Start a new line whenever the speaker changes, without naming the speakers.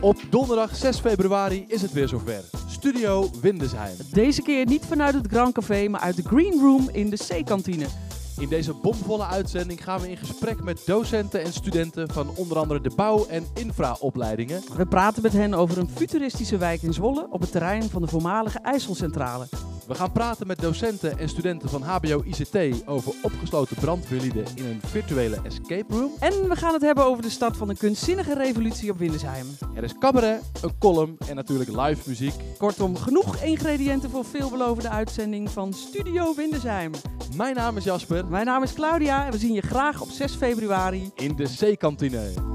Op donderdag 6 februari is het weer zover. Studio Windesheim.
Deze keer niet vanuit het Grand Café, maar uit de Green Room in de C-kantine.
In deze bomvolle uitzending gaan we in gesprek met docenten en studenten van onder andere de bouw- en infraopleidingen.
We praten met hen over een futuristische wijk in Zwolle op het terrein van de voormalige IJsselcentrale.
We gaan praten met docenten en studenten van HBO ICT over opgesloten brandweerlieden in een virtuele escape room.
En we gaan het hebben over de start van een kunstzinnige revolutie op Windesheim.
Er is cabaret, een column en natuurlijk live muziek.
Kortom, genoeg ingrediënten voor veelbelovende uitzending van Studio Windesheim.
Mijn naam is Jasper
Mijn naam is Claudia en we zien je graag op 6 februari.
in de C-kantine.